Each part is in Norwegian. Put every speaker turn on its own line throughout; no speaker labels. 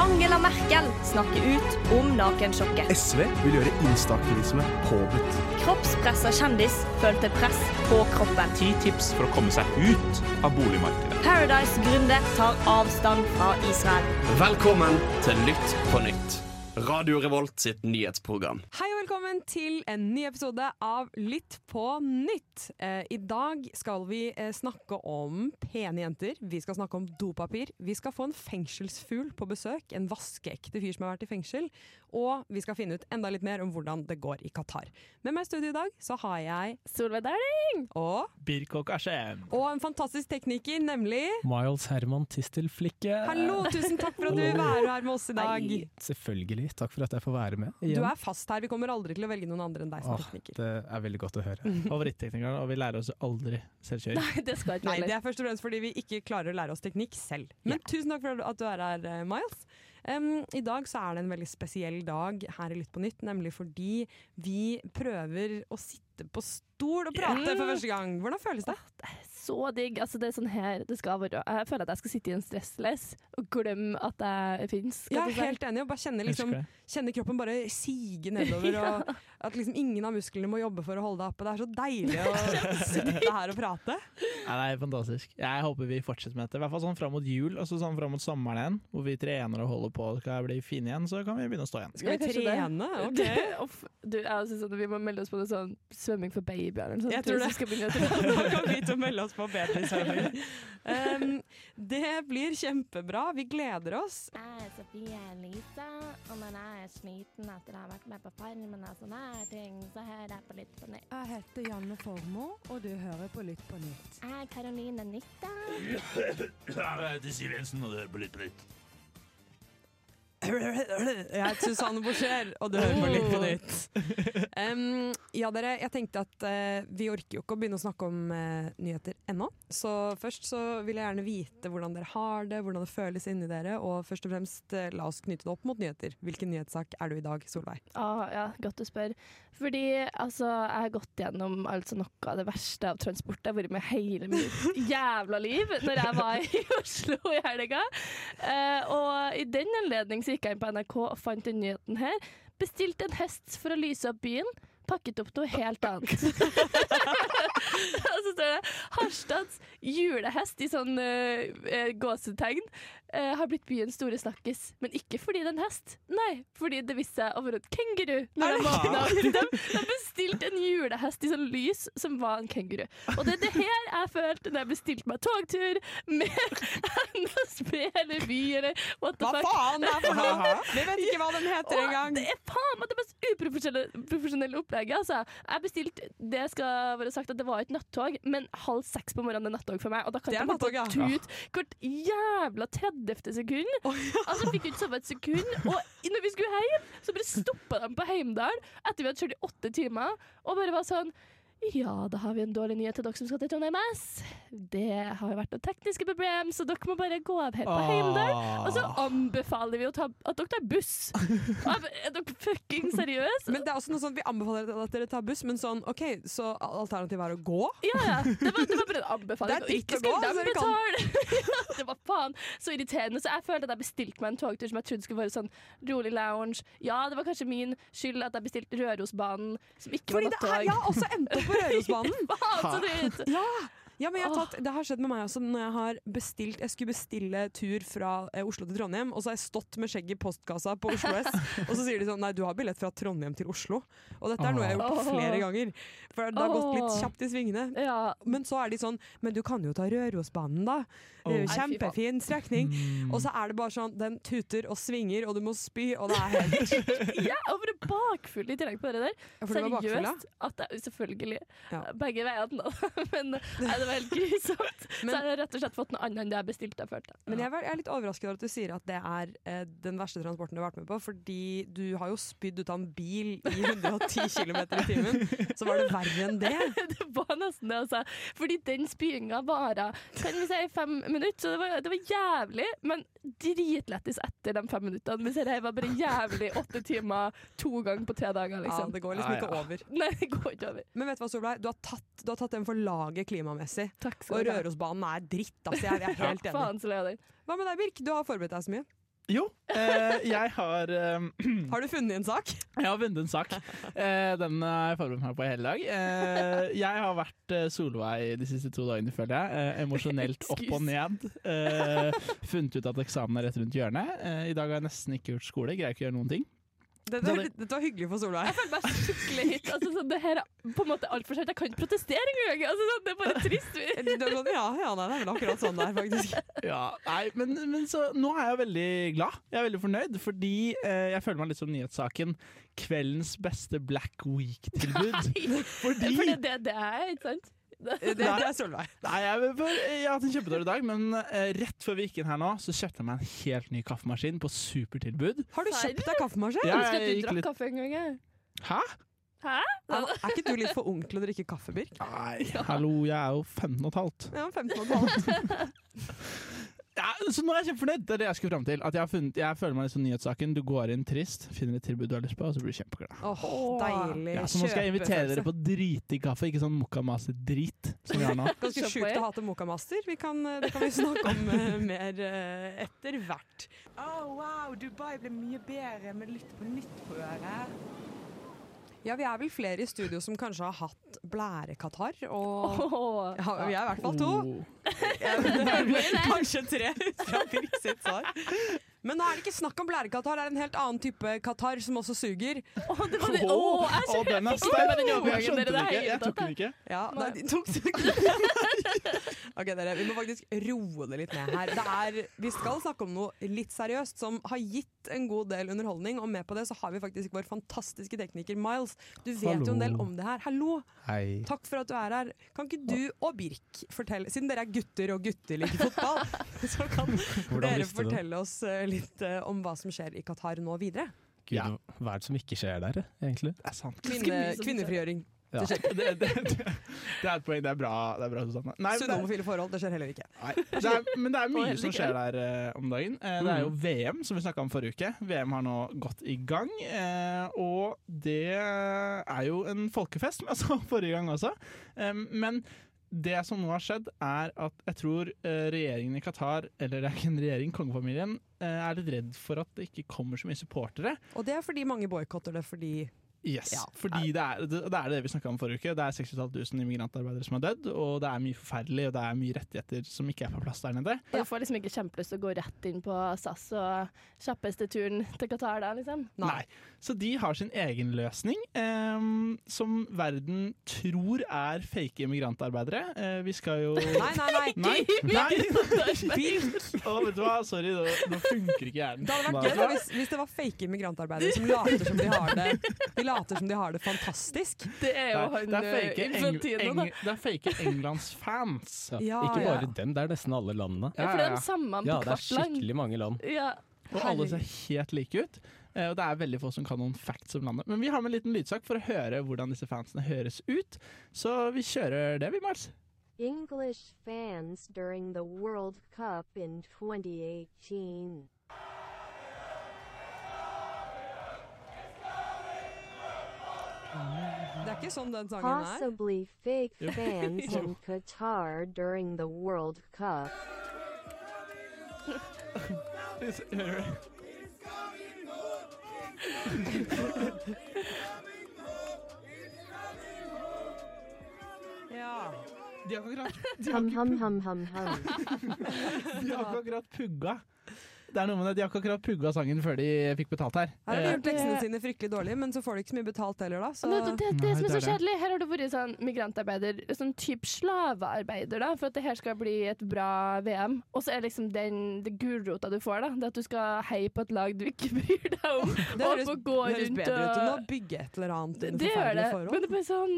Angela Merkel snakker ut om nakensjokket.
SV vil gjøre instaaktivisme påbudt.
Kroppspressa kjendis følte press på kroppen.
Ti tips for å komme seg ut av boligmarkedet.
Paradise-gründer tar avstand fra Israel.
Velkommen til Lytt på nytt. Radio Revolt sitt nyhetsprogram.
Hei og velkommen til en ny episode av Lytt på nytt. Eh, I dag skal vi eh, snakke om pene jenter, vi skal snakke om dopapir, vi skal få en fengselsfugl på besøk, en vaskeekte fyr som har vært i fengsel, og vi skal finne ut enda litt mer om hvordan det går i Qatar. Med meg i studio i dag så har jeg
Solveig Dæhling!
og,
Birkok Ashem.
og en fantastisk tekniker, nemlig
Miles Herman Tistelflikke.
Hallo, tusen takk for at du vil være her med oss i dag.
Hei. Selvfølgelig. Takk for at jeg får være med.
Du er fast her, vi kommer aldri til å velge noen andre enn deg som
Åh,
tekniker.
det er veldig godt å høre.
favorittteknikeren, og vi lærer oss aldri selvkjøring.
Nei, det skal jeg ikke
Nei, det
heller.
er først og fremst fordi vi ikke klarer å lære oss teknikk selv. Men tusen takk for at du er her, eh, Miles. Em, I dag så er det en veldig spesiell dag her i Lytt på nytt, nemlig fordi vi prøver å sitte på stol og prate for første gang. Hvordan føles det?
Så digg. Altså, det er sånn her det skal være. Jeg føler at jeg skal sitte i en stressless og glemme at sånn- jeg finnes.
Jeg er helt enig. og bare kjenner, liksom,
Elsker det.
kjenner kroppen bare sige nedover, og at liksom ingen av musklene må jobbe for å holde deg oppe. Det er så deilig å sitte her og prate.
Nei, det er fantastisk. Jeg håper vi fortsetter med dette. I hvert fall sånn fram mot jul og så sånn fram mot sommeren igjen, hvor vi trener og holder på. Skal jeg bli fin igjen, så kan vi begynne å stå igjen.
Skal vi
Ja, kanskje det.
trene?
Du,
Ok.
uff, du, jeg synes at Vi må melde oss på noe sånn svømming for babyer. eller noe sånt.
Jeg tror
Hvis vi
det.
Skal begynne å trene.
Nå kan vi til å melde oss på babysvømming. Um, det blir kjempebra. Vi gleder oss.
Jeg er Sofie Elise, og når jeg er sliten etter å ha vært med på Farmen og sånne her ting, så hører jeg på Lytt på nytt.
Jeg heter Janne Formoe, og du hører på Lytt på nytt.
Jeg er Karoline Nytta.
Jeg heter Susanne Borcher, og du hører på Lytt på nytt. Um, ja, dere, jeg tenkte at eh, vi orker jo ikke å begynne å snakke om eh, nyheter ennå. Så først så vil jeg gjerne vite hvordan dere har det, hvordan det føles inni dere. Og først og fremst, eh, la oss knytte det opp mot nyheter. Hvilken nyhetssak er du i dag, Solveig?
Ah, ja, godt du spør. Fordi altså, jeg har gått gjennom altså, noe av det verste av transport. Jeg har vært med hele mitt jævla liv når jeg var i Oslo i helga. Eh, og i den anledning så gikk jeg inn på NRK og fant den nyheten her. Bestilte en hest for å lyse opp byen. Pakket opp noe helt annet. og så står det Harstads julehest i sånn eh, eh, gåsetegn eh, har blitt byens store snakkis. Men ikke fordi det er en hest, nei, fordi det viste seg å være en kenguru. Når de, våkna. de, liksom. de bestilte en julehest i sånn lys som var en kenguru. Og det er det her jeg følte når jeg bestilte meg togtur med NSB eller Vy eller what the
Hva
fuck.
faen det er for noe?! Vi vet ikke hva den heter
Åh,
engang.
Det er faen meg det mest uprofesjonelle profesjonelle opplegget. Altså. Jeg bestilte det skal være sagt at det var et nattog, men halv seks på morgenen er nattog for meg. Og da kan
Det er
jeg
nattog, ja.
bare tut hvert jævla 30. sekund. Altså jeg fikk jo ikke sove et sekund. Og når vi skulle hjem, så bare stoppa de på Heimdal etter vi hadde kjørt i åtte timer, og bare var sånn ja, da har vi en dårlig nyhet til dere som skal til Trondheim S. Det har jo vært noen tekniske problemer, så dere må bare gå av her på Heimdal.
Ah.
Og så anbefaler vi å ta, at dere tar buss. Ja, men Er dere fucking seriøse?
Men det er også noe sånn, Vi anbefaler at dere tar buss, men sånn OK, så alternativet er å gå?
Ja, ja. Det var, det var bare en
Det
anbefaling.
er
og ikke
dritt å gå,
skulle
altså,
de
det kan-
betale! Ja, det var faen så irriterende. Så jeg følte at jeg bestilte meg en togtur som jeg trodde skulle være sånn rolig lounge. Ja, det var kanskje min skyld at jeg bestilte Rørosbanen, som ikke
Fordi
var
det er,
nattog.
jeg har også endt opp på Rørosbanen!
Faen, så dritt!
Ja! Ja, men jeg har tatt, det har skjedd med meg også når jeg har bestilt Jeg skulle bestille tur fra eh, Oslo til Trondheim, og så har jeg stått med skjegget i postkassa på Oslo S, og så sier de sånn Nei, du har billett fra Trondheim til Oslo. Og dette er noe jeg har gjort
Åh.
flere ganger. For det har gått litt
Åh.
kjapt i svingene.
Ja.
Men så er de sånn Men du kan jo ta Rørosbanen, da. Det er jo
Åh. Nei, fy faen. Mm.
kjempefin strekning.
Mm.
Og så er det bare sånn Den tuter og svinger, og du må spy, og det er helt
ja, og bare bakfull i tillegg på det der.
Ja, for du var bakfull, ja.
Seriøst. At jeg, selvfølgelig.
Ja.
Begge veiene, da. Men nei, det var helt grusomt.
Men-
så jeg har rett og slett fått noe annet enn det jeg bestilte. Jeg følte.
Men jeg er vel- jeg er litt overrasket over at du sier at det er eh, den verste transporten du har vært med på, fordi du har jo spydd ut av en bil i 110 km i timen. Så var det verre enn det.
Det var nesten det, altså. Fordi den spyinga vara kan vi si, fem minutter, så det var, det var jævlig. Men dritlættis etter de fem minuttene. Mens dette var bare jævlig åtte timer to ganger på tre dager,
Ja,
liksom.
det går liksom
Ja, ja.
ikke over.
Nei, det går ikke over.
Men vet du hva, Solveig? Du har tatt, du har tatt den for laget klimamessig.
Takk
Og
skal du ha.
Rørosbanen er dritt, altså. Jeg er helt enig.
Faen så lei deg.
Hva med deg, Birk? Du har forberedt deg så mye.
Jo, eh, jeg har eh,
Har du funnet en sak?
Jeg har vunnet en sak. Eh, den har jeg forberedt meg på i hele dag. Eh, jeg har vært eh, Solveig de siste to dagene, føler jeg. Eh, emosjonelt opp og ned. Eh, funnet ut at eksamen er rett rundt hjørnet. Eh, I dag har jeg nesten ikke gjort skole. Greier ikke å gjøre noen ting.
Dette,
Da
var-
det-
dette var hyggelig for Solveig.
Jeg føler meg skikkelig hit. Altså, sånn, det her er på en måte altfor sent. Jeg kan ikke protestere engang. Altså, sånn, det er bare trist.
Det var sånn, Ja, ja nei, det er vel akkurat sånn det er, faktisk.
Ja, nei, men, men så, nå er jeg veldig glad. Jeg er veldig fornøyd, fordi eh, jeg føler meg litt som nyhetssaken. Kveldens beste Black Week-tilbud. Fordi
For det er det det er, ikke sant?
Det, det er Solveig.
Nei, jeg, vil bare- jeg har hatt en kjempedårlig dag, men eh, rett før vi gikk inn her nå, så kjøpte jeg meg en helt ny kaffemaskin på supertilbud.
Har du kjøpt deg kaffemaskin?
Ja,
Husker at
jeg
du
gikk
drakk
litt-
kaffe en gang, jeg.
Hæ?
Er er ikke du litt for ung til å drikke kaffe, Birk?
Nei, hallo, jeg er jo 15 og et halvt.
Ja, 15 og et halvt.
Ja, så nå er jeg kjempefornøyd. Det er det jeg skulle fram til. At jeg, har funnet, jeg føler meg litt som nyhetssaken. Du går inn trist, finner et tilbud du har lyst på, og så blir du kjempeglad.
Åh, deilig.
Ja, så nå skal jeg invitere dere
kjøpefølelse.
på dritig kaffe, ikke sånn mokkamase-drit som vi har nå.
Ganske
Se på
sjukt
her.
å hate Mokamaster. Vi kan, det kan vi snakke om eh, mer eh, etter hvert.
Oh, wow, Dubai ble mye bedre med Lytt på nytt på øret.
Ja, vi er vel flere i studio som kanskje har hatt blærekatarr, og
Åh.
ja, vi er i hvert fall to.
Oh.
Kanskje tre ut fra Birk sitt svar. Men nå er det ikke snakk om blærekatarr, det er en helt annen type katarr som også suger.
Åh, det var det. Åh, jeg
Å, den er
skjønte
sterk!
den
Jeg
overgangen
skjønte
dere
den
det
ikke.
hele
Jeg tok
tatt.
den ikke.
Ja, nei, de tok suger. Ok, dere, vi må faktisk roe det litt ned her. Det er, vi skal snakke om noe litt seriøst som har gitt en god del underholdning, og med på det så har vi faktisk vår fantastiske tekniker Miles. Du vet jo en del
Hallo.
om det her. Hallo!
Hei.
Takk for at du er her. Kan ikke du og Birk fortelle, siden dere er gutter og gutter liker fotball, så kan
Hvordan visste
dere
du det?
fortelle oss eh, litt eh, om hva som skjer i Qatar nå videre?
Gud, Hva er det som ikke skjer der, egentlig?
Det er sant.
Kvinne,
mye som
kvinnefrigjøring.
Ja.
Det skjer.
Det, det, det, det er et poeng. Det er bra, det er bra Susanne. Nei,
Sunne
men, det,
homofile forhold, det skjer heller ikke.
nei, det er, men det er
Og
mye
heller
som skjer der eh, om dagen. Eh, det er jo VM, som vi snakka om forrige uke. VM har nå gått i gang. eh, og det er jo en folkefest, som jeg sa forrige gang også. Eh, men det som nå har skjedd, er at jeg tror eh, regjeringen i Qatar, eller det er ikke en regjering, kongefamilien, eh, er litt redd for at det ikke kommer så mye supportere.
Og det er fordi mange boikotter det fordi
Yes,
Ja.
fordi det er det, det er det vi snakka om forrige uke. Det er 6500 immigrantarbeidere som har dødd, og det er mye forferdelig, og det er mye rettigheter som ikke er på plass der nede.
Og du får liksom ikke kjempelyst til å gå rett inn på SAS og kjappeste turen til Qatar da, liksom.
Nei.
Så de har sin egen løsning, em, som verden tror er fake immigrantarbeidere. Eh, vi skal jo
Nei, nei, nei!
Nei! nei.
Birk!
Å, vet du hva, sorry, nå, nå funker ikke hjernen.
Det hadde vært gøy da, hvis, hvis det var fake immigrantarbeidere som later som de har det De later som de har det fantastisk.
Det er jo
Nei,
han
det er fake,
eh,
Eng
Infantino,
Eng
da.
det er fake Englands fans.
Ja,
Ja,
ikke
ja.
bare dem, det er nesten alle landene.
Ja, for det er de samme på
Ja, det er
hvert land.
skikkelig mange land.
Ja.
Og alle ser helt like ut. Eh, Og det er veldig få som kan noen facts om landet. Men vi har med en liten lydsak for å høre hvordan disse fansene høres ut. Så vi kjører det, vi, Mars.
English fans during the World Cup in 2018.
Det er ikke sånn den sangen er.
Possibly fake fans in Qatar during the World Cup.
Hører du?
Ja.
De har ikke akkurat, de har
Hum
ikke,
hum hum hum hum.
pu- de har ikke akkurat pugga. Det er noe med det, De har ikke akkurat pugga sangen før de fikk betalt her.
Her har de
Eh,
gjort leksene sine fryktelig dårlig, men så får de ikke så mye betalt heller, da. Så
Men Det, det, det,
Nei,
som
det
er så
er det.
kjedelig, her har det vært sånn migrantarbeider, sånn type slavearbeider, da, for at det her skal bli et bra VM. Og så er liksom den det gulrota du får, da, det at du skal heie på et lag du ikke bryr deg om.
det høres,
opp og
det
gå
høres
rundt
bedre ut enn å
og-
bygge et eller annet
Det,
under
det gjør det,
forferdelige
men
forhold.
det er bare sånn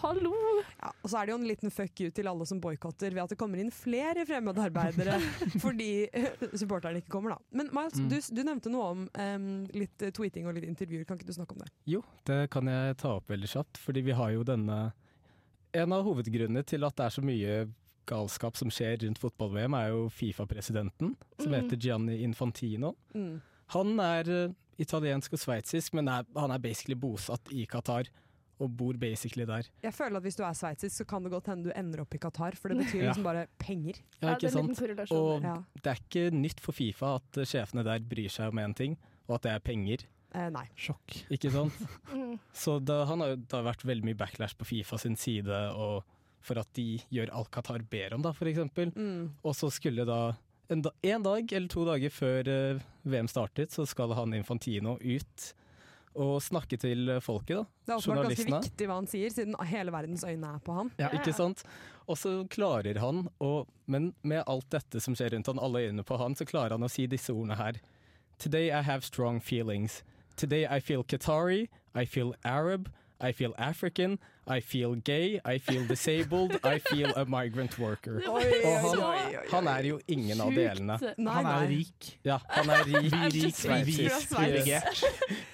Hallo!
Ja, og så er det jo en liten fuck you til alle som boikotter ved at det kommer inn flere fremmedarbeidere fordi eh, supporterne ikke kommer, da. Men Miles,
Mm.
du, du nevnte noe om em, litt eh, tweeting og litt intervjuer. Kan ikke du snakke om det?
Jo, det kan jeg ta opp veldig kjapt, fordi vi har jo denne En av hovedgrunnene til at det er så mye galskap som skjer rundt fotball-VM, er jo Fifa-presidenten, som
Mm.
heter Gianni Infantino.
Mm.
Han er eh, italiensk og sveitsisk, men er, han er basically bosatt i Qatar. og bor basically der.
Jeg føler at hvis du er sveitsisk, så kan det godt hende du ender opp i Qatar, for det betyr
Ja.
liksom bare penger.
Mm.
Ja, ikke sant? Og
Ja.
det er ikke nytt for Fifa at sjefene der bryr seg om én ting, og at det er penger.
Eh, nei.
Sjokk.
Ikke sant?
Mm.
Så da, han har, jo- det har vært veldig mye backlash på Fifa sin side og for at de gjør alt Qatar ber om, da, for eksempel.
Mm.
Og så skulle da en, da, en dag eller to dager før eh, VM startet, så skal han Infantino ut og snakke til eh, folket,
Det
da.
er åpenbart ganske
Journalistene.
viktig hva han sier, siden hele verdens øyne er på han.
Ja, ikke sant? Og så klarer han å Men med alt dette som skjer rundt han, alle øynene på han, så klarer han å si disse ordene her. Today I have strong feelings. Today I feel Qatari. I feel Arab. I feel African. I feel gay. I feel disabled. I feel a migrant worker.
Oi, oi,
Og han,
oi, oi, oi.
han er jo ingen av
Sjukt.
delene.
Nei, Han er nei.
rik.
Ja, han er rik,
I'm just rik,
sveitsisk,
fra Sveits.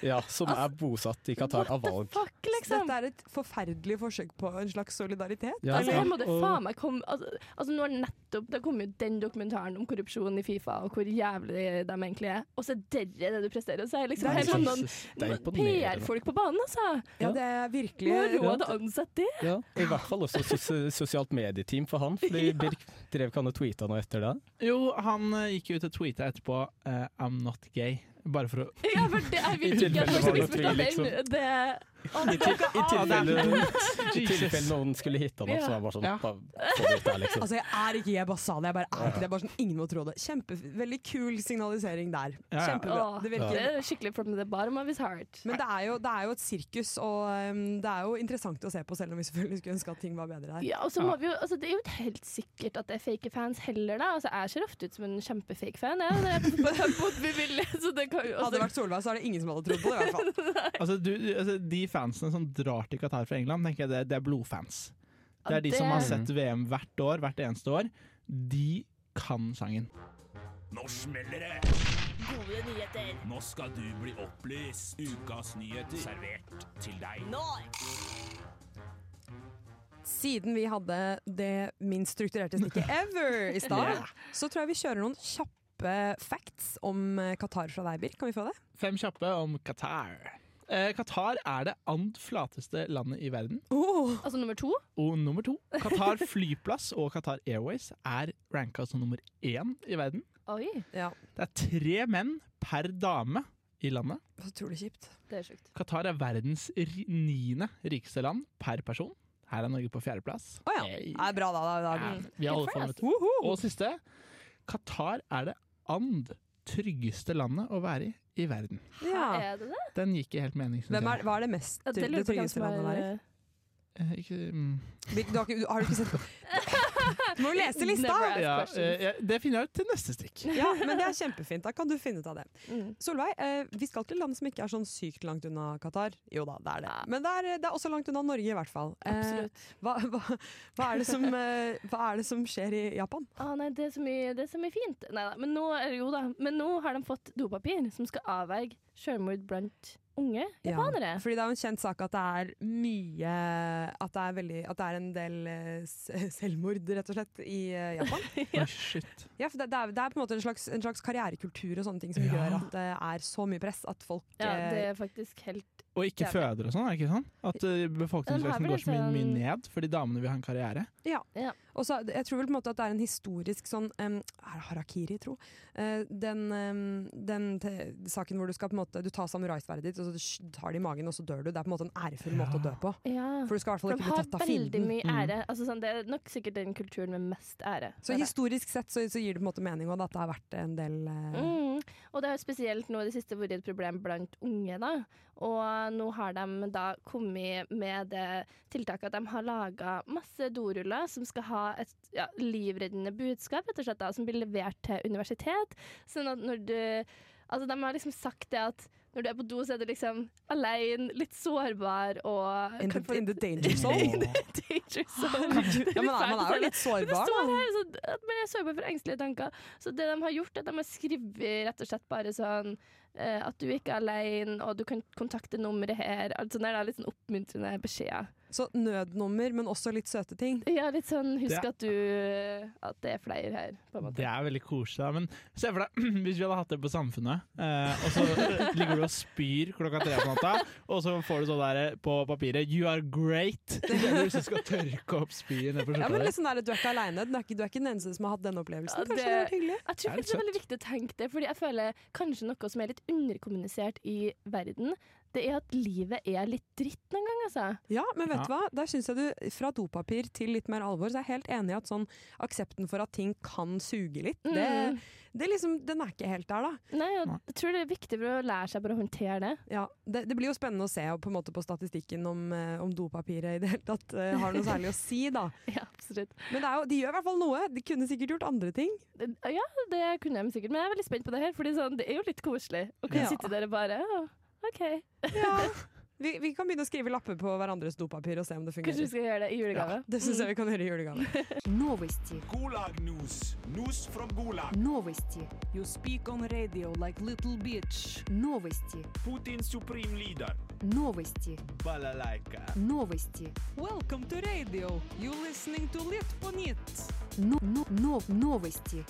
Ja, som er bosatt i Qatar av valg.
Dette er et forferdelig forsøk på en slags solidaritet.
Ja,
altså,
ja,
det må det
og-
faen meg komme altså, altså, nå er det nettopp Det kom jo den dokumentaren om korrupsjon i Fifa, og hvor jævlig de egentlig er. Og så er dere det du presterer. Så er liksom,
Det er
her må
sånn-
Jesus, det er
noen
imponerende.
PR-folk på banen, altså.
Ja, det er
Må ha
virkelig
råd å ansette de.
Ja, og I hvert fall også sos sosialt medieteam for han, fordi Birk drev ikke han og tweeta noe etter det.
Jo, han eh, gikk jo ut og tweeta etterpå eh, 'I'm not gay'. Bare for å
Ja, for det er
I
virkelig
tilfelle
ikke at
det var noe tvil,
folk skal misforstå den.
liksom.
Det Å, det går ikke
I
Ah,
an.
tilfelle, i
Jesus.
tilfelle noen skulle hitte han opp, så var han bare sånn
Ja.
bare, få det ut der, liksom.
Altså, jeg er ikke jeg bare sa det. Jeg bare er ikke det. Jeg er bare sånn, ingen må tro det. Kjempe, veldig kul signalisering der.
Ja, ja.
Kjempebra.
Åh,
Det
Det
virker.
er skikkelig from the bottom of his heart.
Men det er, jo, det er jo et sirkus, og ehm, det er jo interessant å se på, selv om vi selvfølgelig skulle ønske at ting var bedre her.
Ja, og så må vi jo, altså Det er jo ikke helt sikkert at det er fake fans heller, da. Altså, Jeg ser ofte ut som en kjempefake fan, jeg. Når jeg er på- på- på- bevillig, så det kan jo
Hadde det
altså,
vært Solveig, så er det ingen som hadde trodd på det. i hvert fall.
Altså, du, du- altså, de fansene som drar til Qatar fra England, tenker jeg det, det er blodfans. Det er de som har sett VM hvert år, hvert eneste år. De kan sangen.
Nå smeller det!
Gode nyheter.
Nå skal du bli opplyst. Ukas nyheter servert til deg.
Siden vi hadde det minst strukturerte stikket ever i stad, så tror jeg vi kjører noen kjappe facts om eh, Qatar fra deg, Birk. Kan vi få det?
Fem kjappe om Qatar. Eh, Qatar er det ant flateste landet i verden.
Oh,
altså nummer to.
Og nummer to, Qatar flyplass og Qatar Airways er ranka som nummer én i verden.
Oi,
ja,
Det er tre menn per dame i landet.
så utrolig kjipt.
det er sjukt.
Qatar er verdens ri- niende rikeste land per person. Her er Norge på fjerdeplass.
Å ja.
Hey.
Det er bra, da. da, da.
Ja, vi har alle fått med-
Woho!
Og siste. Qatar er det and tryggeste landet å være i i verden.
Ja.
Er det det?
Den gikk i helt mening. synes
Hvem
jeg.
er, hva er det mest
Ja,
det,
lurer jeg på hvem
tryggeste
som er-
landet å være i?
Eh, Ikke, mm.
Birk, du har, ikke, du, har du ikke sett på Du må jo lese lista!
Never ask
ja,
questions.
eh, jeg- det finner jeg ut til neste stikk.
Ja, men det er kjempefint. Da kan du finne ut av det.
Mm.
Solveig, eh, vi skal til land som ikke er sånn sykt langt unna Qatar. Jo da, det er det.
Ja.
Men det er, det er også langt unna Norge, i hvert fall. Eh,
Absolutt.
hva, hva, hva, er det som, eh, hva er det som skjer i Japan?
Ah, nei, det er så mye, det er så mye fint. Nei, nei, men, nå, er det jo da, men nå har de fått dopapir som skal avverge selvmord blant unge
Ja.
japanere.
Fordi det er jo en kjent sak at det er mye At det er, veldig, at det er en del eh, s- selvmord, rett og slett, i eh, Japan.
Oi, shit.
Ja, for det, det, er, det er på en måte en slags, en slags karrierekultur og sånne ting som
Ja.
gjør at det er så mye press at folk
Ja,
eh,
det er faktisk helt
Og ikke
Jævlig.
føder og sånn, er det ikke sånn? At eh,
Ja, de
befolkningsveksten
har
går
vel
så mye,
en
mye
sånn-
ned fordi damene vil ha en karriere.
Og så, jeg tror vel på en måte at det er en historisk sånn em, Er det harakiri, tro? Eh, den em, den te saken hvor du skal på en måte Du tar samuraisverdet ditt, og så sk- tar det i magen, og så dør du. Det er på en måte en ærefull måte å dø på.
Ja.
For du skal i hvert fall
For de
ikke bli
har
tatt av
veldig
fienden.
mye ære. Altså, sånn, det er nok sikkert den kulturen med mest ære.
Mm. Så
føler jeg.
historisk sett så, så gir det på en måte mening også, da, at det har vært en del eh,
Mm. Og det har spesielt nå i det siste vært et problem blant unge. da. Og nå har de da kommet med det tiltaket at de har laga masse doruller som skal ha et ja, livreddende budskap, rett og slett, da, som blir levert til universitet. Sånn at når du Altså, de har liksom sagt det at når du er på do, så er du liksom aleine, litt sårbar og
in,
kan få
the, in the
litt
danger zone.
danger zone.
ja, men man er jo litt
Det
sårbar,
står
da.
her så, at man er sårbar for engstelige tanker. Så det de har gjort, er at de har skrevet rett og slett bare sånn eh, at du ikke er alene, og du kan kontakte nummeret her. Altså, det er litt sånn oppmuntrende beskjeder.
Så nødnummer, men også litt søte ting.
Ja, litt sånn husk
Det-
at du At det er flere her, på en måte.
Det er veldig koselig. da, Men se for deg hvis vi hadde hatt det på Samfunnet, eh, og så ligger du og spyr klokka tre på natta, og så får du sånn der på papiret 'You are great'. Det er du som skal tørke opp spyet ned på
Ja, men
skjorta. di.
liksom der, Du er ikke aleine. Du, er ikke- du er ikke den eneste som har hatt den
Ja,
opplevelsen.
det-
Kanskje det var hyggelig?
Jeg
Er det
tror faktisk det er veldig viktig å tenke det, fordi jeg føler kanskje noe som er litt underkommunisert i verden, det er at livet er litt dritt noen gang, altså.
Ja, men vet
Ja.
du hva? Der synes jeg du, Fra dopapir til litt mer alvor, så er jeg helt enig i at sånn aksepten for at ting kan suge litt, det,
Mm.
det liksom, den er ikke helt der, da.
Nei, og jeg tror det er viktig for å lære seg bare å håndtere det.
Ja, det, det blir jo spennende å se og på, en måte på statistikken om, eh, om dopapiret i det hele tatt eh, har noe særlig å si, da.
Ja, absolutt.
Men det er jo, de gjør i hvert fall noe. De kunne sikkert gjort andre ting.
Det- Ja, det kunne jeg sikkert, men jeg er veldig spent på det her, fordi sånn, det er jo litt koselig å kunne
Ja.
sitte der og bare «Å, OK,
Vi, vi kan begynne å skrive lapper på hverandres dopapir og se om det
kanskje vi
fungerer.
skal gjøre det i julegave.
Det syns jeg vi kan gjøre i julegave.
Новости.
Gulag-news. News from Gulag.
Новости.
You speak on radio like little bitch.
Новости.
Putins supreme leader.
Новости.
Balalaika.
Новости.
Welcome to radio. You listening to Litt på nytt.
Но, но, но, новости.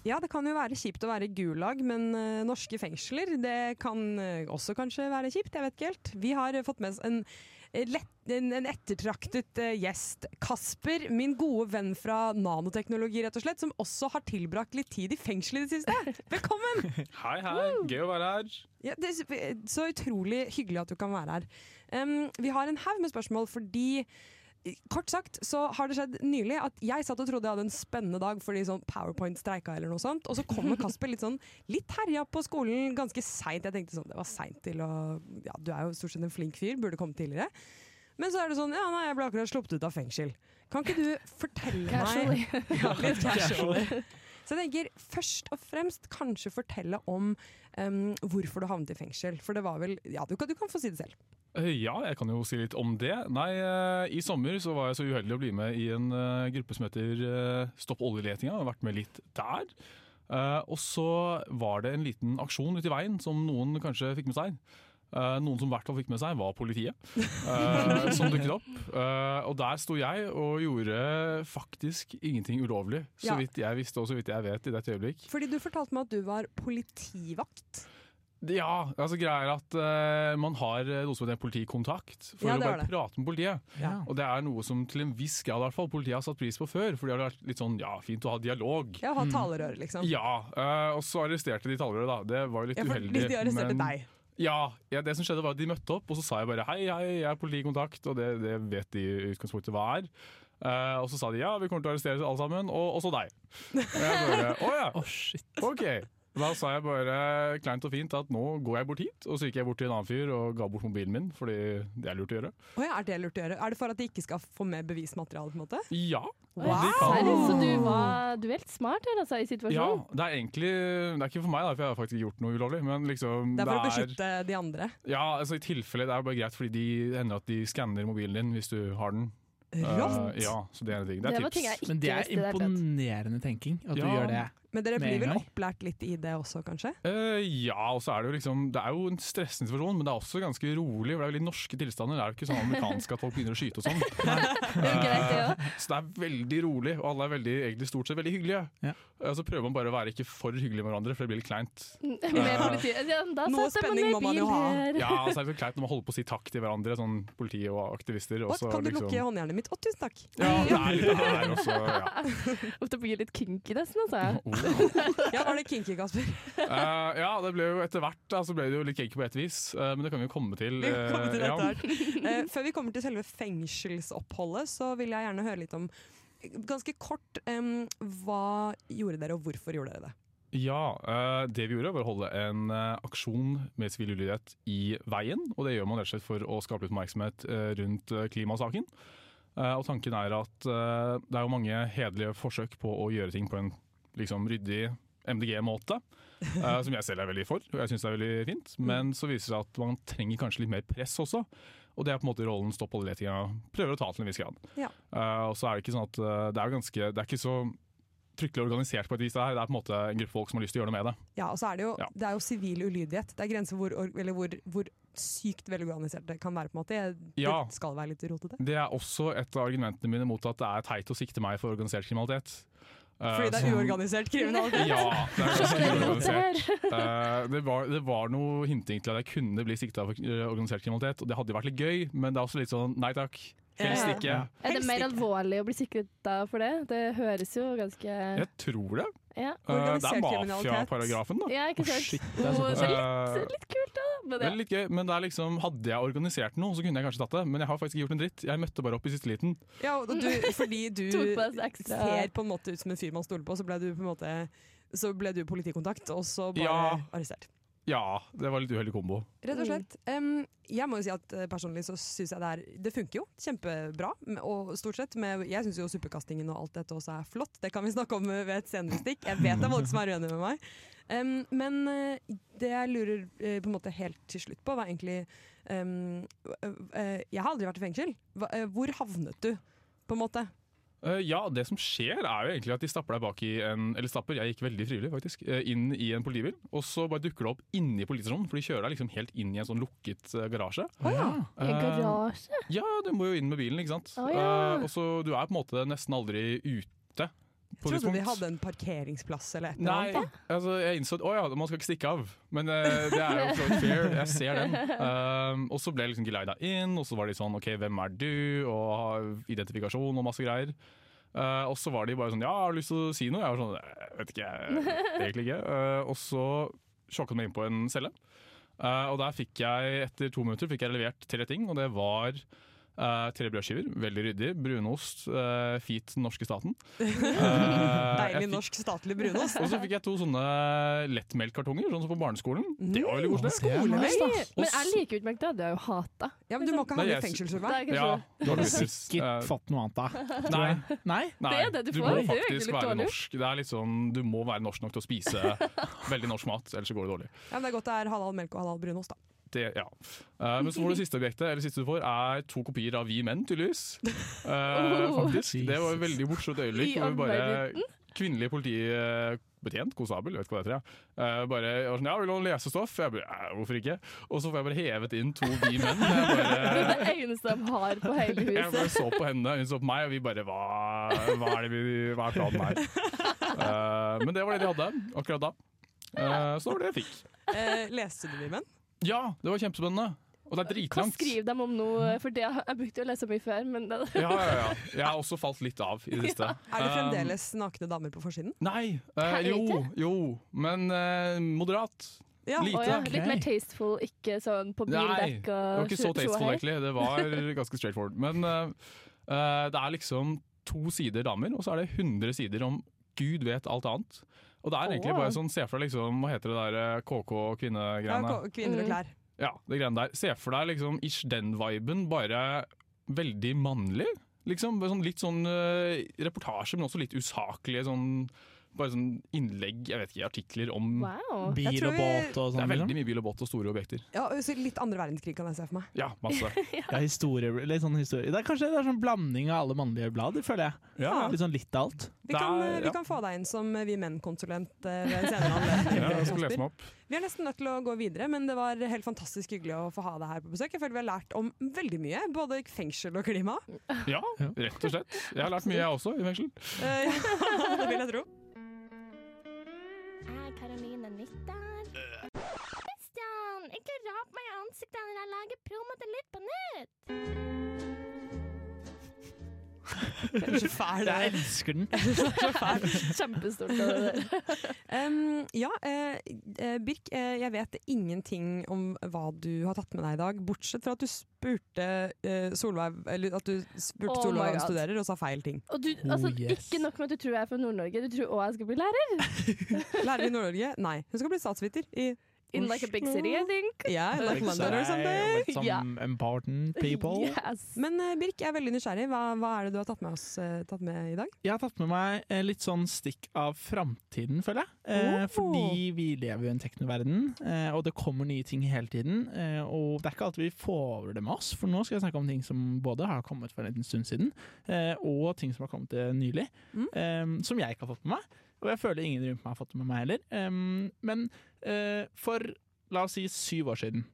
Ja, det kan jo være kjipt å være i gulag, men eh, norske fengsler det kan eh, også kanskje være kjipt. Jeg vet ikke helt. Vi har eh, fått med oss en, eh, lett, en, en ettertraktet eh, gjest. Kasper, min gode venn fra nanoteknologi, rett og slett, som også har tilbrakt litt tid i fengsel i det siste. Velkommen!
Hei, hei. Gøy å være her.
Ja, det er så- så utrolig hyggelig at du kan være her. Um, vi har en haug med spørsmål fordi eh, Kort sagt så har det skjedd nylig at jeg satt og trodde jeg hadde en spennende dag fordi sånn Powerpoint streika eller noe sånt, og så kommer Kasper litt sånn litt herja på skolen ganske seint. Jeg tenkte sånn, det var seint til å Ja, du er jo stort sett en flink fyr, burde komme tidligere. Men så er det sånn Ja, nei, jeg ble akkurat sluppet ut av fengsel. Kan ikke du fortelle meg Ja, litt casually. Så jeg tenker først og fremst kanskje fortelle om em, hvorfor du havnet i fengsel. For det var vel Ja, du kan, du kan få si det selv.
Eh, Ja, jeg kan jo si litt om det. Nei, eh, I sommer så var jeg så uheldig å bli med i en eh, gruppe som heter eh, Stopp oljeletinga. Jeg har vært med litt der. Eh, Og så var det en liten aksjon ute i veien som noen kanskje fikk med seg. Eh, Noen som i hvert fall fikk med seg, var politiet, eh, som dukket opp. Eh, Og der sto jeg og gjorde faktisk ingenting ulovlig, så
Ja.
vidt jeg visste og så vidt jeg vet i dette øyeblikk.
Fordi du fortalte meg at du var politivakt.
Ja, altså greia er at eh, man har eh, noe som heter politikontakt for
Ja,
å
det
bare
har det.
prate med politiet.
Ja.
Og det er noe som til en viss grad i hvert fall politiet har satt pris på før, for det har vært litt sånn ja, fint å ha dialog.
Ja, ha talerør, liksom.
Ja, eh, og så arresterte de talere, da. Det var jo litt
Ja, for
uheldig.
de arresterte deg.
Ja, ja, det som skjedde var at de møtte opp, og så sa jeg bare hei, hei, jeg er politikontakt, og det, det vet de i utgangspunktet hva er. Eh, og så sa de ja, vi kommer til å arrestere alle sammen, og også deg. Og jeg bare å ja. Ok. Da sa jeg bare kleint og fint at nå går jeg bort hit, og så gikk jeg bort til en annen fyr og ga bort mobilen min, fordi det er lurt å gjøre.
Å ja, er det lurt å gjøre? Er det for at de ikke skal få med bevismateriale, på en måte?
Ja.
Wow!
de kan-
Seriøst, så du, var, du er helt smart her, altså, i
Ja,
situasjonen.
det er egentlig Det er ikke for meg, da, for jeg har faktisk ikke gjort noe ulovlig. Men liksom,
Det er for å
det er-
beskytte de andre.
Ja, altså i tilfelle det er bare greit, fordi de hender at de skanner mobilen din hvis du har den.
Rått!
Eh, ja, så det er en ting. Det er
Det var
tips.
ting jeg ikke
Men det er
visste i det hele tatt.
imponerende tenking, at du
Ja.
gjør det.
Men dere
Med
blir
en
vel
gang.
opplært litt i det også, kanskje?
Eh, ja, og så er det jo liksom Det er jo en stressende situasjon, men det er også ganske rolig. For det er jo litt norske tilstander. Det er jo ikke sånn amerikansk at folk begynner å skyte og sånn.
greit,
Eh, så det er veldig rolig, og alle er veldig, egentlig stort sett veldig hyggelige.
Ja.
Eh, så prøver man bare å være ikke for hyggelig med hverandre, for det blir litt kleint.
Med politiet. Ja, da
Noe
satte man
spenning
med
må man jo
bil
ha.
her.
Ja, og så er det så kleint når man holder på å si takk til hverandre, sånn politi og aktivister. Og
Å,
så
kan du
liksom-
lukke håndjernet mitt? Å, tusen takk!
Ja, det er litt der også, ja.
Ofte blir det litt kinky, nesten, altså.
Ja, var det kinky, Kasper?
Eh, ja, det ble jo etter hvert da, så ble det jo litt cake på et vis, eh, men det kan vi jo komme til.
Vi kan komme til dette
eh, ja.
her. Eh, Før vi kommer til selve fengselsoppholdet, så vil jeg gjerne høre litt om eh, Ganske kort, em, hva gjorde dere, og hvorfor gjorde dere det?
Ja, eh, det vi gjorde var å holde en eh, aksjon med sivil ulydighet i veien. Og det gjør man rett og slett for å skape litt oppmerksomhet eh, rundt eh, klimasaken. Eh, og tanken er at eh, det er jo mange hederlige forsøk på å gjøre ting på en liksom, ryddig MDG-måte. eh, som jeg selv er veldig for, og jeg syns det er veldig fint. Men så viser det seg at man trenger kanskje litt mer press også. Og det er på en måte rollen Stopp oljeletinga prøver å ta til en viss grad.
Ja.
Eh, og så er det ikke sånn at eh, det er jo ganske Det er ikke så fryktelig organisert på et vis. Det, her. det er på en måte en gruppe folk som har lyst til å gjøre noe med det.
Ja, og så er det jo,
Ja.
det er jo sivil ulydighet. Det er grenser hvor, or- eller hvor, hvor sykt velorganiserte kan være. på en måte. Jeg-
Ja.
Det skal være litt rotete.
Det er også et av argumentene mine mot at det er teit å sikte meg for organisert kriminalitet. Eh,
Fordi det er
som-
uorganisert kriminalitet.
Ja, det er ganske
Skjønner du
uorganisert.
det
Eh, det, var, det var noe hinting til at jeg kunne bli sikta for eh, organisert kriminalitet, og det hadde jo vært litt gøy, men det er også litt sånn nei takk, helst
Ja.
ikke.
Er det mer alvorlig å bli sikret da for det? Det høres jo ganske
Jeg tror det.
ja.
Eh, det er mafiaparagrafen, da.
Ja, ikke sant.
sånn.
Og det er
Eh,
litt, litt kult, da. Men
Det er
ja.
litt gøy, men det er liksom, hadde jeg organisert noe, så kunne jeg kanskje tatt det. Men jeg har faktisk ikke gjort en dritt. Jeg møtte bare opp i siste liten.
Ja, og du, fordi du
Tok på deg ekstra-
ser på en måte ut som en fyr man stoler på, så ble du på en måte så ble du politikontakt, og så bare
Ja.
arrestert.
Ja, det var litt uheldig kombo.
Rett og slett. Em, jeg må jo si at eh, personlig så syns jeg det er Det funker jo kjempebra, m- og stort sett. Med, jeg syns jo suppekastingen og alt dette også er flott, det kan vi snakke om eh, ved et senere stikk. Jeg vet det er folk som er uenige med meg. Em, men eh, det jeg lurer eh, på en måte helt til slutt på, var egentlig em, eh, eh, Jeg har aldri vært i fengsel. Hva, eh, hvor havnet du, på en måte?
Eh, ja, det som skjer er jo egentlig at de stapper deg bak i en Eller stapper, jeg gikk veldig frivillig faktisk, eh, inn i en politibil. Og så bare dukker det opp inni politirommet, for de kjører deg liksom helt inn i en sånn lukket eh, garasje.
I en
Eh,
garasje?
ja, du må jo inn med bilen, ikke sant.
Å, ja.
Eh, og så du er på en måte nesten aldri ute. På
Trodde vi
tidspunkt.
hadde en parkeringsplass eller et
Nei,
eller annet.
altså jeg innså at å ja, man skal ikke stikke av. Men eh, det er jo for så vidt fair, jeg ser den. Um, og så ble jeg liksom geleida inn, og så var de sånn OK, hvem er du? Og identifikasjon og masse greier. Eh, og så var de bare sånn ja, har du lyst til å si noe? Jeg var sånn «Eh, vet ikke, jeg- egentlig ikke. Eh, og så sjokket meg inn på en celle. Eh, og der fikk jeg etter to minutter fikk jeg levert tre ting, og det var eh, tre brødskiver, veldig ryddig, brunost, eh, fit den norske staten. Eh, jeg
Deilig
fikk-
norsk statlig brunost.
og så fikk jeg to sånne lettmelkkartonger, sånn som på barneskolen. Det
Mm.
var veldig koselig.
Nei,
Og
men
s-
jeg liker jo ikke McDonald's, det har jeg jo hata.
Ja, men du må ikke
Nei, jeg- Ja, du har sikkert
fått noe annet, da.
Nei.
Nei?
Eh, Nei,
Det er det du
du
får,
må
det er jo egentlig
faktisk
litt
være
dårlig.
norsk. Det er litt sånn, du må være norsk nok til å spise veldig norsk mat, ellers så går det dårlig.
Ja, men det er godt det er halal melk og halal brunost, da.
Det, ja. Eh, men så får
Mm.
du siste objektet, eller siste du får, er to kopier av Vi menn, tydeligvis. Eh, faktisk. Det var et veldig morsomt øyeblikk.
I
hvor vi bare
allverden?
Kvinnelig politibetjent, konstabel, jeg vet ikke hva det heter. Ja. Eh, bare jeg var sånn, ja, vil du ha lesestoff? Jeg bare, «Eh, hvorfor ikke? Og så får jeg bare hevet inn to Vi menn. Jeg
Det er
bare,
det eneste de har på hele
jeg bare
huset.
så på henne, hun så på meg, og vi bare hva, hva, er, det vi, hva er planen her? Eh, men det var det de hadde akkurat da. Eh, så det var det jeg fikk.
Eh, leste du Vimen?
Ja, det var kjempespennende. Og det
Hva
er dritlangt.
skriver de om noe? For det, jeg brukte jo å lese mye før, men det,
Ja, ja, ja. Jeg har også falt litt av i det siste. Eh,
Er det fremdeles
Um,
nakne damer på forsiden?
Nei. Um, eh,
Her
jo,
ute?
jo, men eh, moderat. Lite.
Å ja, litt mer tasteful, ikke sånn på
Nei,
bildekk
det var
og
ikke
tjo-
så
tjohei.
tasteful, egentlig. Det var ganske straightforward. Men eh, eh, det er liksom to sider damer, og så er det 100 sider om gud vet alt annet. Og det er egentlig
Åh.
bare sånn, se for deg liksom, hva heter det der eh,
Ja,
KK-kvinnegreiene?
ko- kvinner og
Mm.
klær.
Ja, det greiene der. Se for deg liksom ish den viben, bare veldig mannlig. Liksom, Bare sånn, litt sånn eh, reportasje, men også litt usaklige sånn bare sånn innlegg, jeg vet ikke, artikler om
Wow. Bil Jeg tror og vi- båt og sånn,
Det er veldig
liksom.
mye bil og båt og store objekter.
Ja, og så litt andre verdenskrig kan jeg se for meg.
Ja, masse.
Ja, historie, litt sånn historie. Det er kanskje det er sånn blanding av alle mannlige blader, føler jeg.
Ja.
Litt sånn litt av alt.
Vi kan, eh, vi kan få deg inn som eh, Vi Menn-konsulent eh, ved en senere anledning.
Ja, jeg skal lese meg opp.
Vi er nesten nødt til å gå videre, men det var helt fantastisk hyggelig å få ha deg her på besøk. Jeg føler vi har lært om veldig mye, både fengsel og klima.
Ja, rett og slett. Jeg har lært mye, jeg også, i fengsel.
Eh, ja, det vil jeg tro.
Jeg er Karoline Nytter. Christian, ikke rap meg i ansiktet når jeg lager promo til Litt på nytt!
Du er så fæl, du er.
Jeg elsker den.
Kjempestort av det der.
Um, ja, eh, eh, Birk, eh, jeg vet ingenting om hva du har tatt med deg i dag, bortsett fra at du spurte eh, Solveig eller at du spurte
Oh my
Solveig hva hun
God.
studerer, og sa feil ting.
Og du, altså, Ikke nok med at du tror jeg er fra Nord-Norge, du tror òg jeg skal bli lærer.
Lærer i Nord-Norge? Nei. Hun skal bli statsviter i
In like a big city, I think.
Yeah, in like
Like
London or
say, with
something.
some important people.
Men eh, Birk, jeg er veldig nysgjerrig. Hva, hva er det du har tatt med, oss, eh, tatt med i dag?
Jeg har tatt med meg eh, litt sånn stikk av framtiden, føler jeg. Eh,
Oh.
Fordi vi lever jo i en teknoverden, eh, og det kommer nye ting hele tiden. Eh, og det er ikke alltid vi får det med oss, for nå skal jeg snakke om ting som både har kommet for en liten stund siden, eh, og ting som har kommet eh, nylig.
Mm.
Eh, som jeg ikke har fått med meg, og jeg føler ingen rundt meg har fått det med meg heller. Eh, men eh, for, la oss si, syv år siden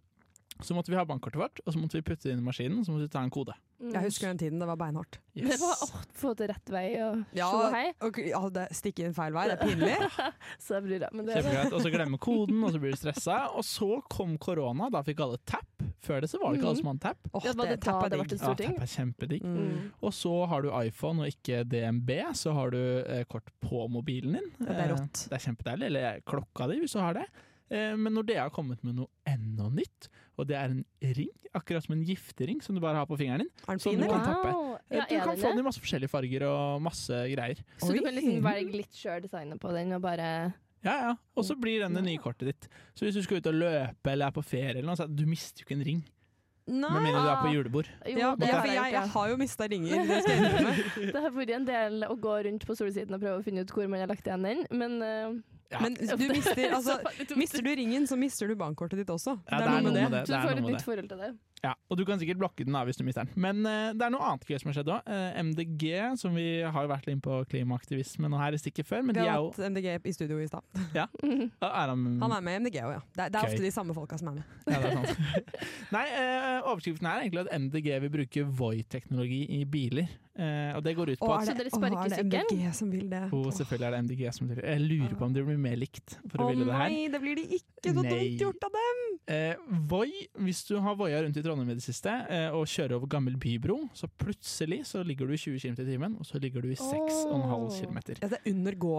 Så måtte vi ha bankkortet vårt, og så måtte vi putte det inn i maskinen, og så måtte vi ta en kode.
Jeg husker den tiden, det var beinhardt.
Mm. Det var å få det rett vei og
Ja,
sjo og hei.
og, ja det, stikke inn feil vei, det er pinlig.
så det blir det. Men det
Kjempegreit. Og så glemme koden, og så blir du stressa. Og så kom korona, da fikk alle tap. Før det så var det ikke alle som hadde tap.
Åh, Ja, var det det tap da er det digg. ble til storting?
Ja, tap er kjempedigg.
Mm.
Og så har du iPhone og ikke DNB, så har du eh, kort på mobilen din.
Ja, det er
Eh,
rått.
Det er kjempedeilig. Eller eh, klokka di, hvis du har det. Eh, Men Nordea har kommet med noe enda nytt, og det er en ring. Akkurat som en giftering som du bare har på fingeren din.
Er den
som
fin,
du kan
eller?
tappe.
Wow.
Eh,
Ja,
Du
er
kan
den
få
det?
den i masse forskjellige farger og masse greier.
Så du kan liksom velge litt sjøl designet på den, og bare
Ja, ja. Og så blir den det nye kortet ditt. Så hvis du skal ut og løpe eller er på ferie, eller noe, så du mister jo ikke en ring.
Nei.
Med mindre du er på julebord.
Ja, det, for jeg, jeg har jo mista ringer. Det skal jeg innrømme.
Det har vært en del å gå rundt på solsiden og prøve å finne ut hvor man har lagt igjen den, men eh,
Men du mister, altså, mister du ringen, så mister du bankkortet ditt også.
Ja, det er noe med det.
Så du
er
får
noe
et
med
nytt
det.
forhold til det.
Ja, og du kan sikkert blokke den da, hvis du mister den. Men eh, det er noe annet gøy som har skjedd Eh, òg. MDG, som vi har vært inne på klimaaktivisme nå her i stikket før, men
Vi
de
har
er jo
hatt MDG i studio i stad.
ja. Ja, er han,
Han er med i MDG òg, ja. Det er, det er
Gøy.
ofte de samme folka som er med.
Ja, det er sant. Nei, eh, overskriften er egentlig at MDG vil bruke Voi-teknologi i biler. Eh, og det går ut på
Å,
at
er det, å, er det MDG som vil det?
Og selvfølgelig er det MDG som vil Jeg lurer på om det blir mer likt for å
Å
ville det her.
nei, det blir de ikke! Så
Nei.
dumt gjort av dem!
Eh, Voi, hvis du har voia rundt i Trondheim i det siste eh, og kjører over gammel bybro, så plutselig så ligger du i 20 km i timen, og så ligger du i 6,5 km.
Ja, det er under gå,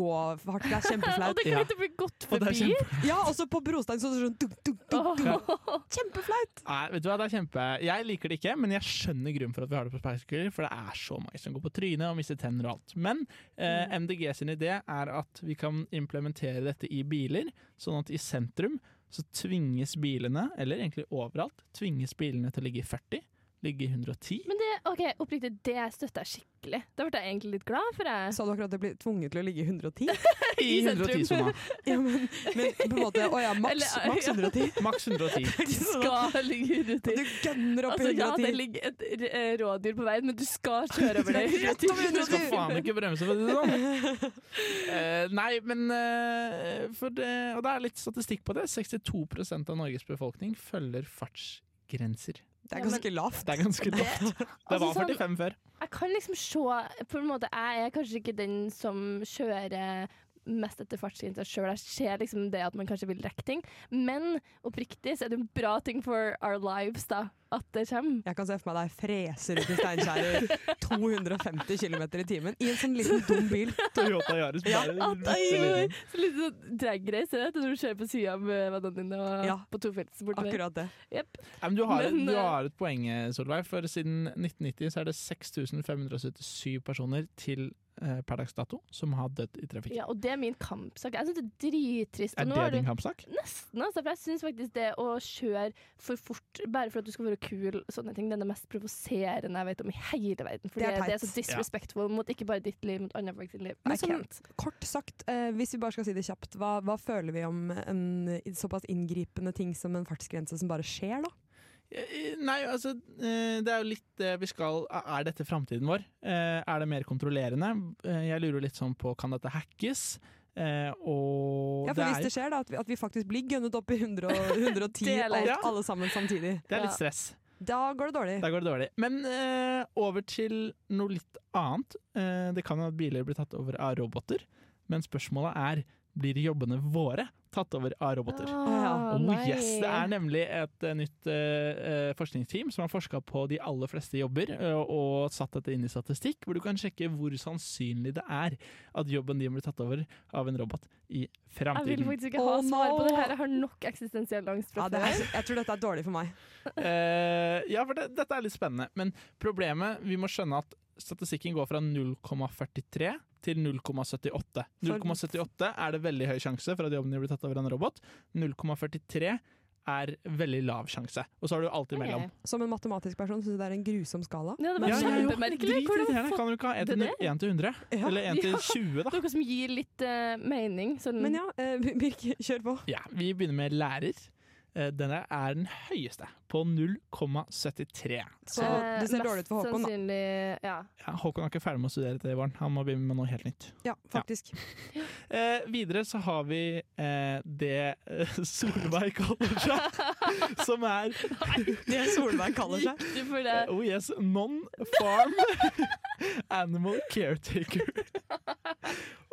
gåfart. Det er kjempeflaut.
Og det kommer Ja. til
å bli godt
Og det er forbi.
Ja, og så på brostein så sånn dunk, dunk, dunk, dunk. Kjempeflaut!
Nei, vet du hva, det er kjempe Jeg liker det ikke, men jeg skjønner grunnen for at vi har det på sparkesykler, for det er så mange som går på trynet og mister tenner og alt. Men eh, MDG sin idé er at vi kan implementere dette i biler, sånn at i sentrum så tvinges bilene, eller egentlig overalt, tvinges bilene til å ligge i 40, ligge i 110.
Men det, ok, oppriktig, det støtter jeg skikkelig. Da ble jeg egentlig litt glad for det.
Sa du akkurat det blir tvunget til å ligge i 110?
I 110-sona.
ja, men, men på en måte Å ja, maks,
Eller,
maks
ja.
110.
Maks 110.
skal ligge i 110.
Du gønner opp i
Altså, ja, det
110.
ligger et r- eh, rådyr på veien, men du skal kjøre over det. i
Rett over
110.
Du skal faen ikke bremse, for å si det sånn. Eh, nei, men eh, for det, Og det er litt statistikk på det. 62 av Norges befolkning følger fartsgrenser.
Det er ganske lavt.
Det er ganske lavt. Det
altså,
var
sånn-
45 før.
Jeg kan liksom se på en måte, Jeg er kanskje ikke den som kjører mest etter fartsgrensa sjøl. Jeg ser liksom det at man kanskje vil rekke ting. Men oppriktig så er det en bra ting for our lives, da. At det kommer.
Jeg kan se for meg deg freser ut i Steinkjer i 250 km i timen i en sånn liten dum bil.
Toyota Yaris
Ja,
bare
At jeg så litt sånn dragrace, det, når du kjører på sida med vennene dine og
Ja.
på tofelts bortover.
Akkurat det.
Jep.
Nei, men du, har
Men,
et, du
eh,
har et poeng, eh, Solveig. For siden 1990 så er det 6577 personer til eh, per dags dato som har dødd i trafikken.
Ja, og det er min kampsak. Jeg syns det er drittrist. og
Er
nå
det
har du-
din kampsak?
Nesten, altså. For jeg syns faktisk det å kjøre for fort bare for at du skal være kul, sånne ting, det er det mest provoserende jeg vet om i hele verden. For
Det
det
er
er,
teit.
så disrespectful mot ikke bare ditt liv, mot andre folk sitt liv. I
Men sånn,
can't.
kort sagt, eh, hvis vi bare skal si det kjapt, hva, hva føler vi om en såpass inngripende ting som en fartsgrense som bare skjer, da?
Eh, Nei, altså eh, Det er jo litt det vi skal Er dette framtiden vår? Eh, Er det mer kontrollerende? Eh, Jeg lurer litt sånn på Kan dette hackes? Eh, Og
Ja, for
det
Hvis
er,
det skjer, da, at vi, at vi faktisk blir gønnet opp i 100 og 110
Det er
alt,
leit.
alle sammen samtidig.
det er litt stress.
Da går det dårlig.
Der går det dårlig. Men eh, over til noe litt annet. Eh, det kan jo at biler blir tatt over av roboter, men spørsmålet er blir jobbene våre tatt over av roboter?
Ah,
oh,
nei.
yes. Det er nemlig et eh, nytt eh, eh, forskningsteam som har forska på de aller fleste jobber, eh, og satt dette inn i statistikk, hvor du kan sjekke hvor sannsynlig det er at jobben din blir tatt over av en robot i
Jeg vil
framtiden.
faktisk ikke ha
Å,
svar på
no.
det her. Jeg har nok eksistensiell angst
Ja,
fra
det er,
før.
jeg tror dette er dårlig for meg.
Eh, ja, for det, dette er litt spennende. Men problemet Vi må skjønne at statistikken går fra 0,43 til 0,78. 0,78 er det veldig høy sjanse for at jobben din blir tatt over av en robot. 0,43 er veldig lav sjanse. Og så har du alt imellom.
Som en matematisk person syns jeg det er en grusom skala.
Ja, det var
Ja, ja, ja.
kjempemerkelig. Hvor har du
Dritirriterende.
fått
Kan du ikke ha 1 til,
det?
1 til 100? Eller 1 til
Ja.
20, da?
Noe som gir litt eh, mening. Sånn.
Men ja, eh, Birk, kjør på.
Ja, Vi begynner med lærer. Eh, Eh, Denne er den høyeste, på 0,73.
Eh, mest Sannsynlig, ja.
Ja, Håkon er ikke ferdig med å studere til våren. Han må begynne med noe helt nytt.
Ja, faktisk.
Eh, videre så har vi eh, det eh, Solveig kaller seg, som er
Det Solveig kaller seg?
Du for det.
Oh yes, non-farm animal caretaker.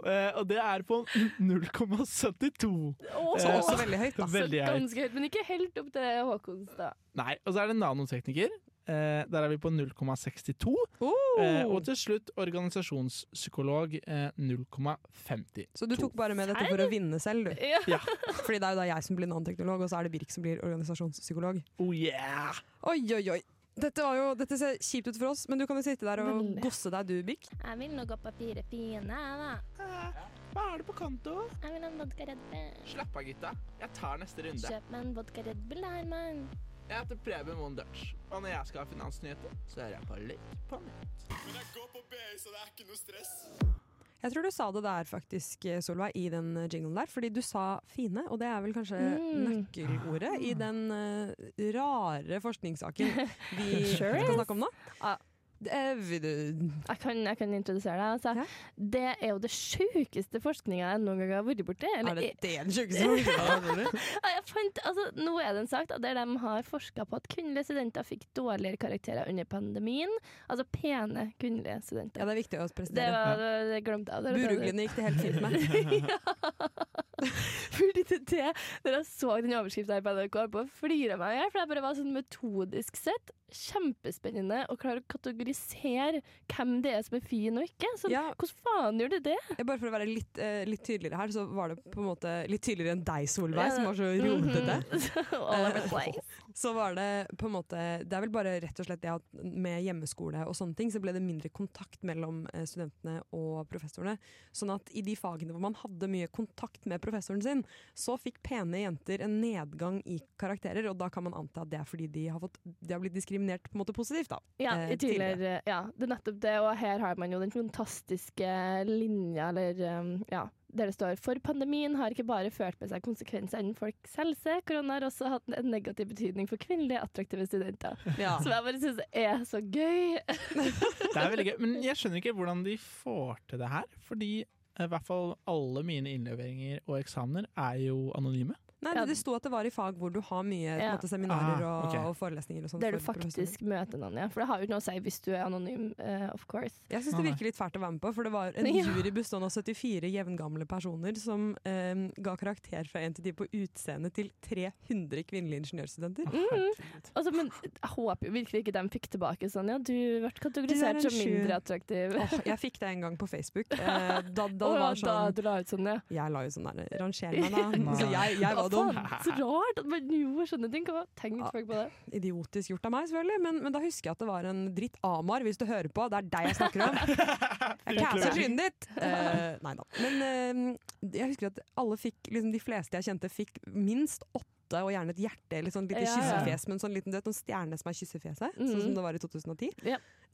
Eh, og det er på 0,72.
Åh,
Eh,
så veldig høyt,
så Veldig høyt.
Ganske høyt, men ikke helt opp til Håkons, da.
Nei, og så er det nanotekniker. Eh, der er vi på 0,62.
Oh.
Eh, og til slutt organisasjonspsykolog eh, 0,50.
Så du tok bare med dette for å vinne selv, du?
Ja.
Fordi det er jo da jeg som blir nanoteknolog, og så er det Birk som blir organisasjonspsykolog.
Oh yeah!
Oi, oi, oi. Dette, var jo, dette ser kjipt ut for oss, men du kan jo sitte der og
Veldig.
gosse deg, du, Birk.
Jeg vil nå gå på fire fine, jeg, da.
Hva er det på konto?
Jeg vil ha en vodka Red Bull.
Slapp av, gutta. Jeg tar neste
Kjøp meg en vodka Red Bull her, mann.
Jeg heter Preben Moen Dutch, og når jeg skal ha finansnyheter, så hører jeg på litt på nett.
Men jeg går på BI, så det er ikke noe stress.
Jeg tror du sa det der faktisk, eh, Solveig, i den jinglen der, fordi du sa fine, og det er vel kanskje
Mm.
nøkkelordet i den eh, rare forskningssaken vi
Sure
skal
is.
snakke om nå. Eh,
Jeg kan, jeg kan introdusere deg. Altså. Det er jo det sjukeste forskninga jeg noen gang har vært borti. eller- eh,
Er det det den sjukeste forskningen?
Ja, jeg fant, altså, nå er det en sak da, der de har forska på at kvinnelige studenter fikk dårligere karakterer under pandemien. Altså pene kvinnelige studenter.
Ja, det er viktig å prestere.
Det, var, det, det glemte jeg. Det var-
Buruglene gikk det helt fint med.
Fordi det, det, når jeg så den overskriften her på NRK, jeg bare flira meg i hjel. For jeg bare var sånn metodisk sett kjempespennende å klare å kategorisere hvem det er som er fin og ikke. Sånn, Hvordan faen gjør du det?
Bare for å være litt, eh, litt tydeligere her, så var det på en måte litt tydeligere enn deg, Solveig,
Ja. Mhm.
som var så rotete.
All over the
Eh,
place.
Så var det på en måte Det er vel bare rett og slett det at med hjemmeskole og sånne ting, så ble det mindre kontakt mellom eh, studentene og professorene. Sånn at i de fagene hvor man hadde mye kontakt med professoren sin, så fikk pene jenter en nedgang i karakterer, og da kan man anta at det er fordi de har, fått, de har blitt diskriminert på en måte positivt, da.
Ja,
eh,
i tidligere, ja, det er nettopp det, og her har man jo den fantastiske linja, eller um, ja, der det står For pandemien har ikke bare ført med seg konsekvenser innen folks helse, korona har også hatt en negativ betydning for kvinnelige attraktive studenter.
Ja.
Som jeg bare syns er så gøy.
Det er veldig gøy, men jeg skjønner ikke hvordan de får til det her. Fordi eh, i hvert fall alle mine innleveringer og eksamener er jo anonyme.
Nei, det, det sto at det var i fag hvor du har mye på en
Ja.
måte, seminarer
Ah,
og,
ok.
og forelesninger og sånt.
Der du
for professorer.
faktisk møter noen, ja. For det har jo ikke noe å si hvis du er anonym, eh, of course.
Jeg
Ah,
syns det virker litt fælt å være med på, for det var en
Ja.
jury bestående av 74 jevngamle personer som eh, ga karakter fra 1 til 10 på utseende til 300 kvinnelige ingeniørstudenter.
Mm. Altså, men jeg håper jo virkelig ikke de fikk tilbake sånn ja, du ble kategorisert som mindre attraktiv.
Åh, jeg fikk det en gang på Facebook. Eh, da, da det
Åh,
var
da
sånn,
du la ut sånn, ja.
Jeg la jo sånn der Ranger meg, da. Så jeg, jeg
Ja,
var dum. Ah.
faen, Så rart at man gjorde sånne ting. Hva tenkte folk på det?
Idiotisk gjort av meg, selvfølgelig, men, men da husker jeg at det var en dritt Amar, hvis du hører på. Det er deg jeg snakker om. Jeg cancer trynet ditt! Eh, nei da. Men eh, jeg husker at alle fikk, liksom, de fleste jeg kjente, fikk minst åtte og gjerne et hjerte eller sånn lite
Ja, ja.
kyssefjes med en sånn liten du vet, noen stjerne som er kyssefjeset, sånn som det var i 2010.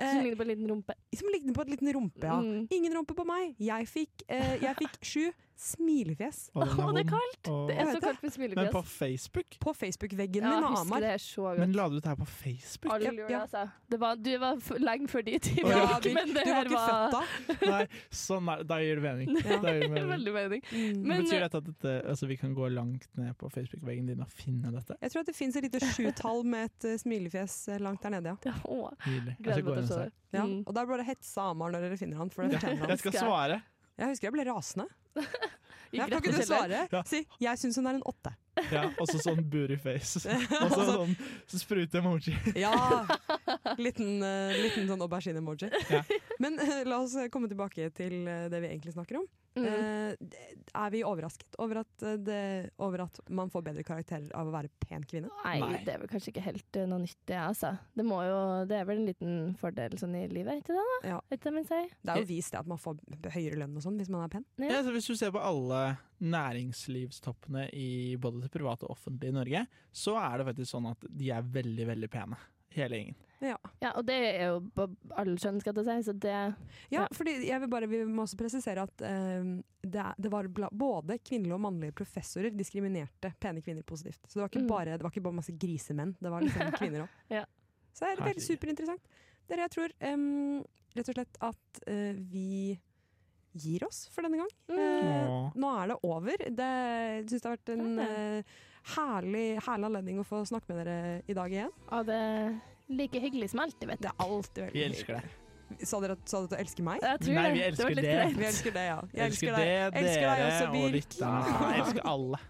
Som ligner på en liten rumpe.
Som ligner på et liten rumpe, Eh, ja.
Mm.
Ingen rumpe på meg. Jeg fikk, eh, jeg fikk sju smilefjes.
Å, den er Å, det er vond.
kaldt. Det er
Jeg
så
vet
kaldt med smilefjes.
Men på Facebook?
På Facebook-veggen
Ja,
min
jeg
og
husker
Amar.
det er så godt.
Men la du ut det her på Facebook?
Alle
Ja,
gjorde det,
ja.
altså. Det var, du var f lenge før de tid,
Ja,
Birk, men det
du var
her
ikke født da.
Nei, sånn er, da gir det mening. Da gir det mening.
Veldig mening.
Mm.
Men,
eh,
Betyr dette at dette, altså, vi kan gå langt ned på Facebook-veggen din og finne dette?
Jeg tror at det fins et lite sjutall med et eh, smilefjes eh, langt der nede, ja.
Nydelig. Jeg skal gå inn og se.
Ja,
Mm.
og da bør det hetse Amar når dere finner han, for
Ja,
det fortjener han.
jeg skal svare.
Jeg husker jeg ble rasende. Ja,
rett
kan ikke
i
du svare?
kjelleren. Ja.
Si 'jeg syns hun er en åtte'.
Ja, også sånn bootyface. Og så sånn sprute-emoji.
Ja! Liten, eh, liten sånn aubergine-emoji. Men eh, la oss eh, komme tilbake til eh, det vi egentlig snakker om.
Mm.
Eh, d- er vi overrasket over at, eh, det, over at man får bedre karakterer av å være pen kvinne?
Nei, det er vel kanskje ikke helt eh, noe nytt, det, altså. Det, må jo, det er vel en liten fordel sånn i livet, ikke det? da?
Ja.
Vet du hva man sier?
Det er jo vist det at man får b- høyere lønn og sånn hvis man er pen.
Ja, altså hvis du ser på alle næringslivstoppene i både det private og offentlige i Norge, så er det faktisk sånn at de er veldig, veldig pene. Hele gjengen.
Ja.
og det er jo på alle skjønn, skal jeg si, så det
Ja, fordi jeg vil bare, Vi må også presisere at eh, det, er- det var bla- både kvinnelige og mannlige professorer diskriminerte pene kvinner positivt. Så det var ikke,
Mm.
bare, det var ikke bare masse grisemenn, det var liksom kvinner òg.
Ja.
Så det er veldig superinteressant. Dere, jeg tror em, rett og slett at eh, vi gir oss for denne gang. Eh,
Åh.
nå er det over. Det, jeg syns det har vært en eh, herlig, herlig anledning å få snakke med dere i dag igjen.
Ja, det er like hyggelig som alltid, vet du.
Det er alltid veldig
Vi elsker det.
hyggelig. Sa dere at, sa dere at du elsker meg?
Jeg tror Nei, det. vi Det var elsker litt det. drøyt.
Vi elsker det, ja. Jeg elsker,
Elsker det,
deg. Elsker deg
dere
også,
og
Birk.
lytterne. Ja, jeg elsker alle.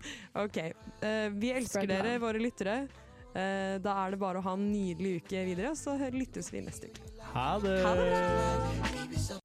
OK. eh, vi elsker
Spread
dere,
love.
våre lyttere. Eh, da er det bare å ha en nydelig uke videre, så hø- lyttes vi neste uke.
Ha det!
Ha det bra!
Baby, so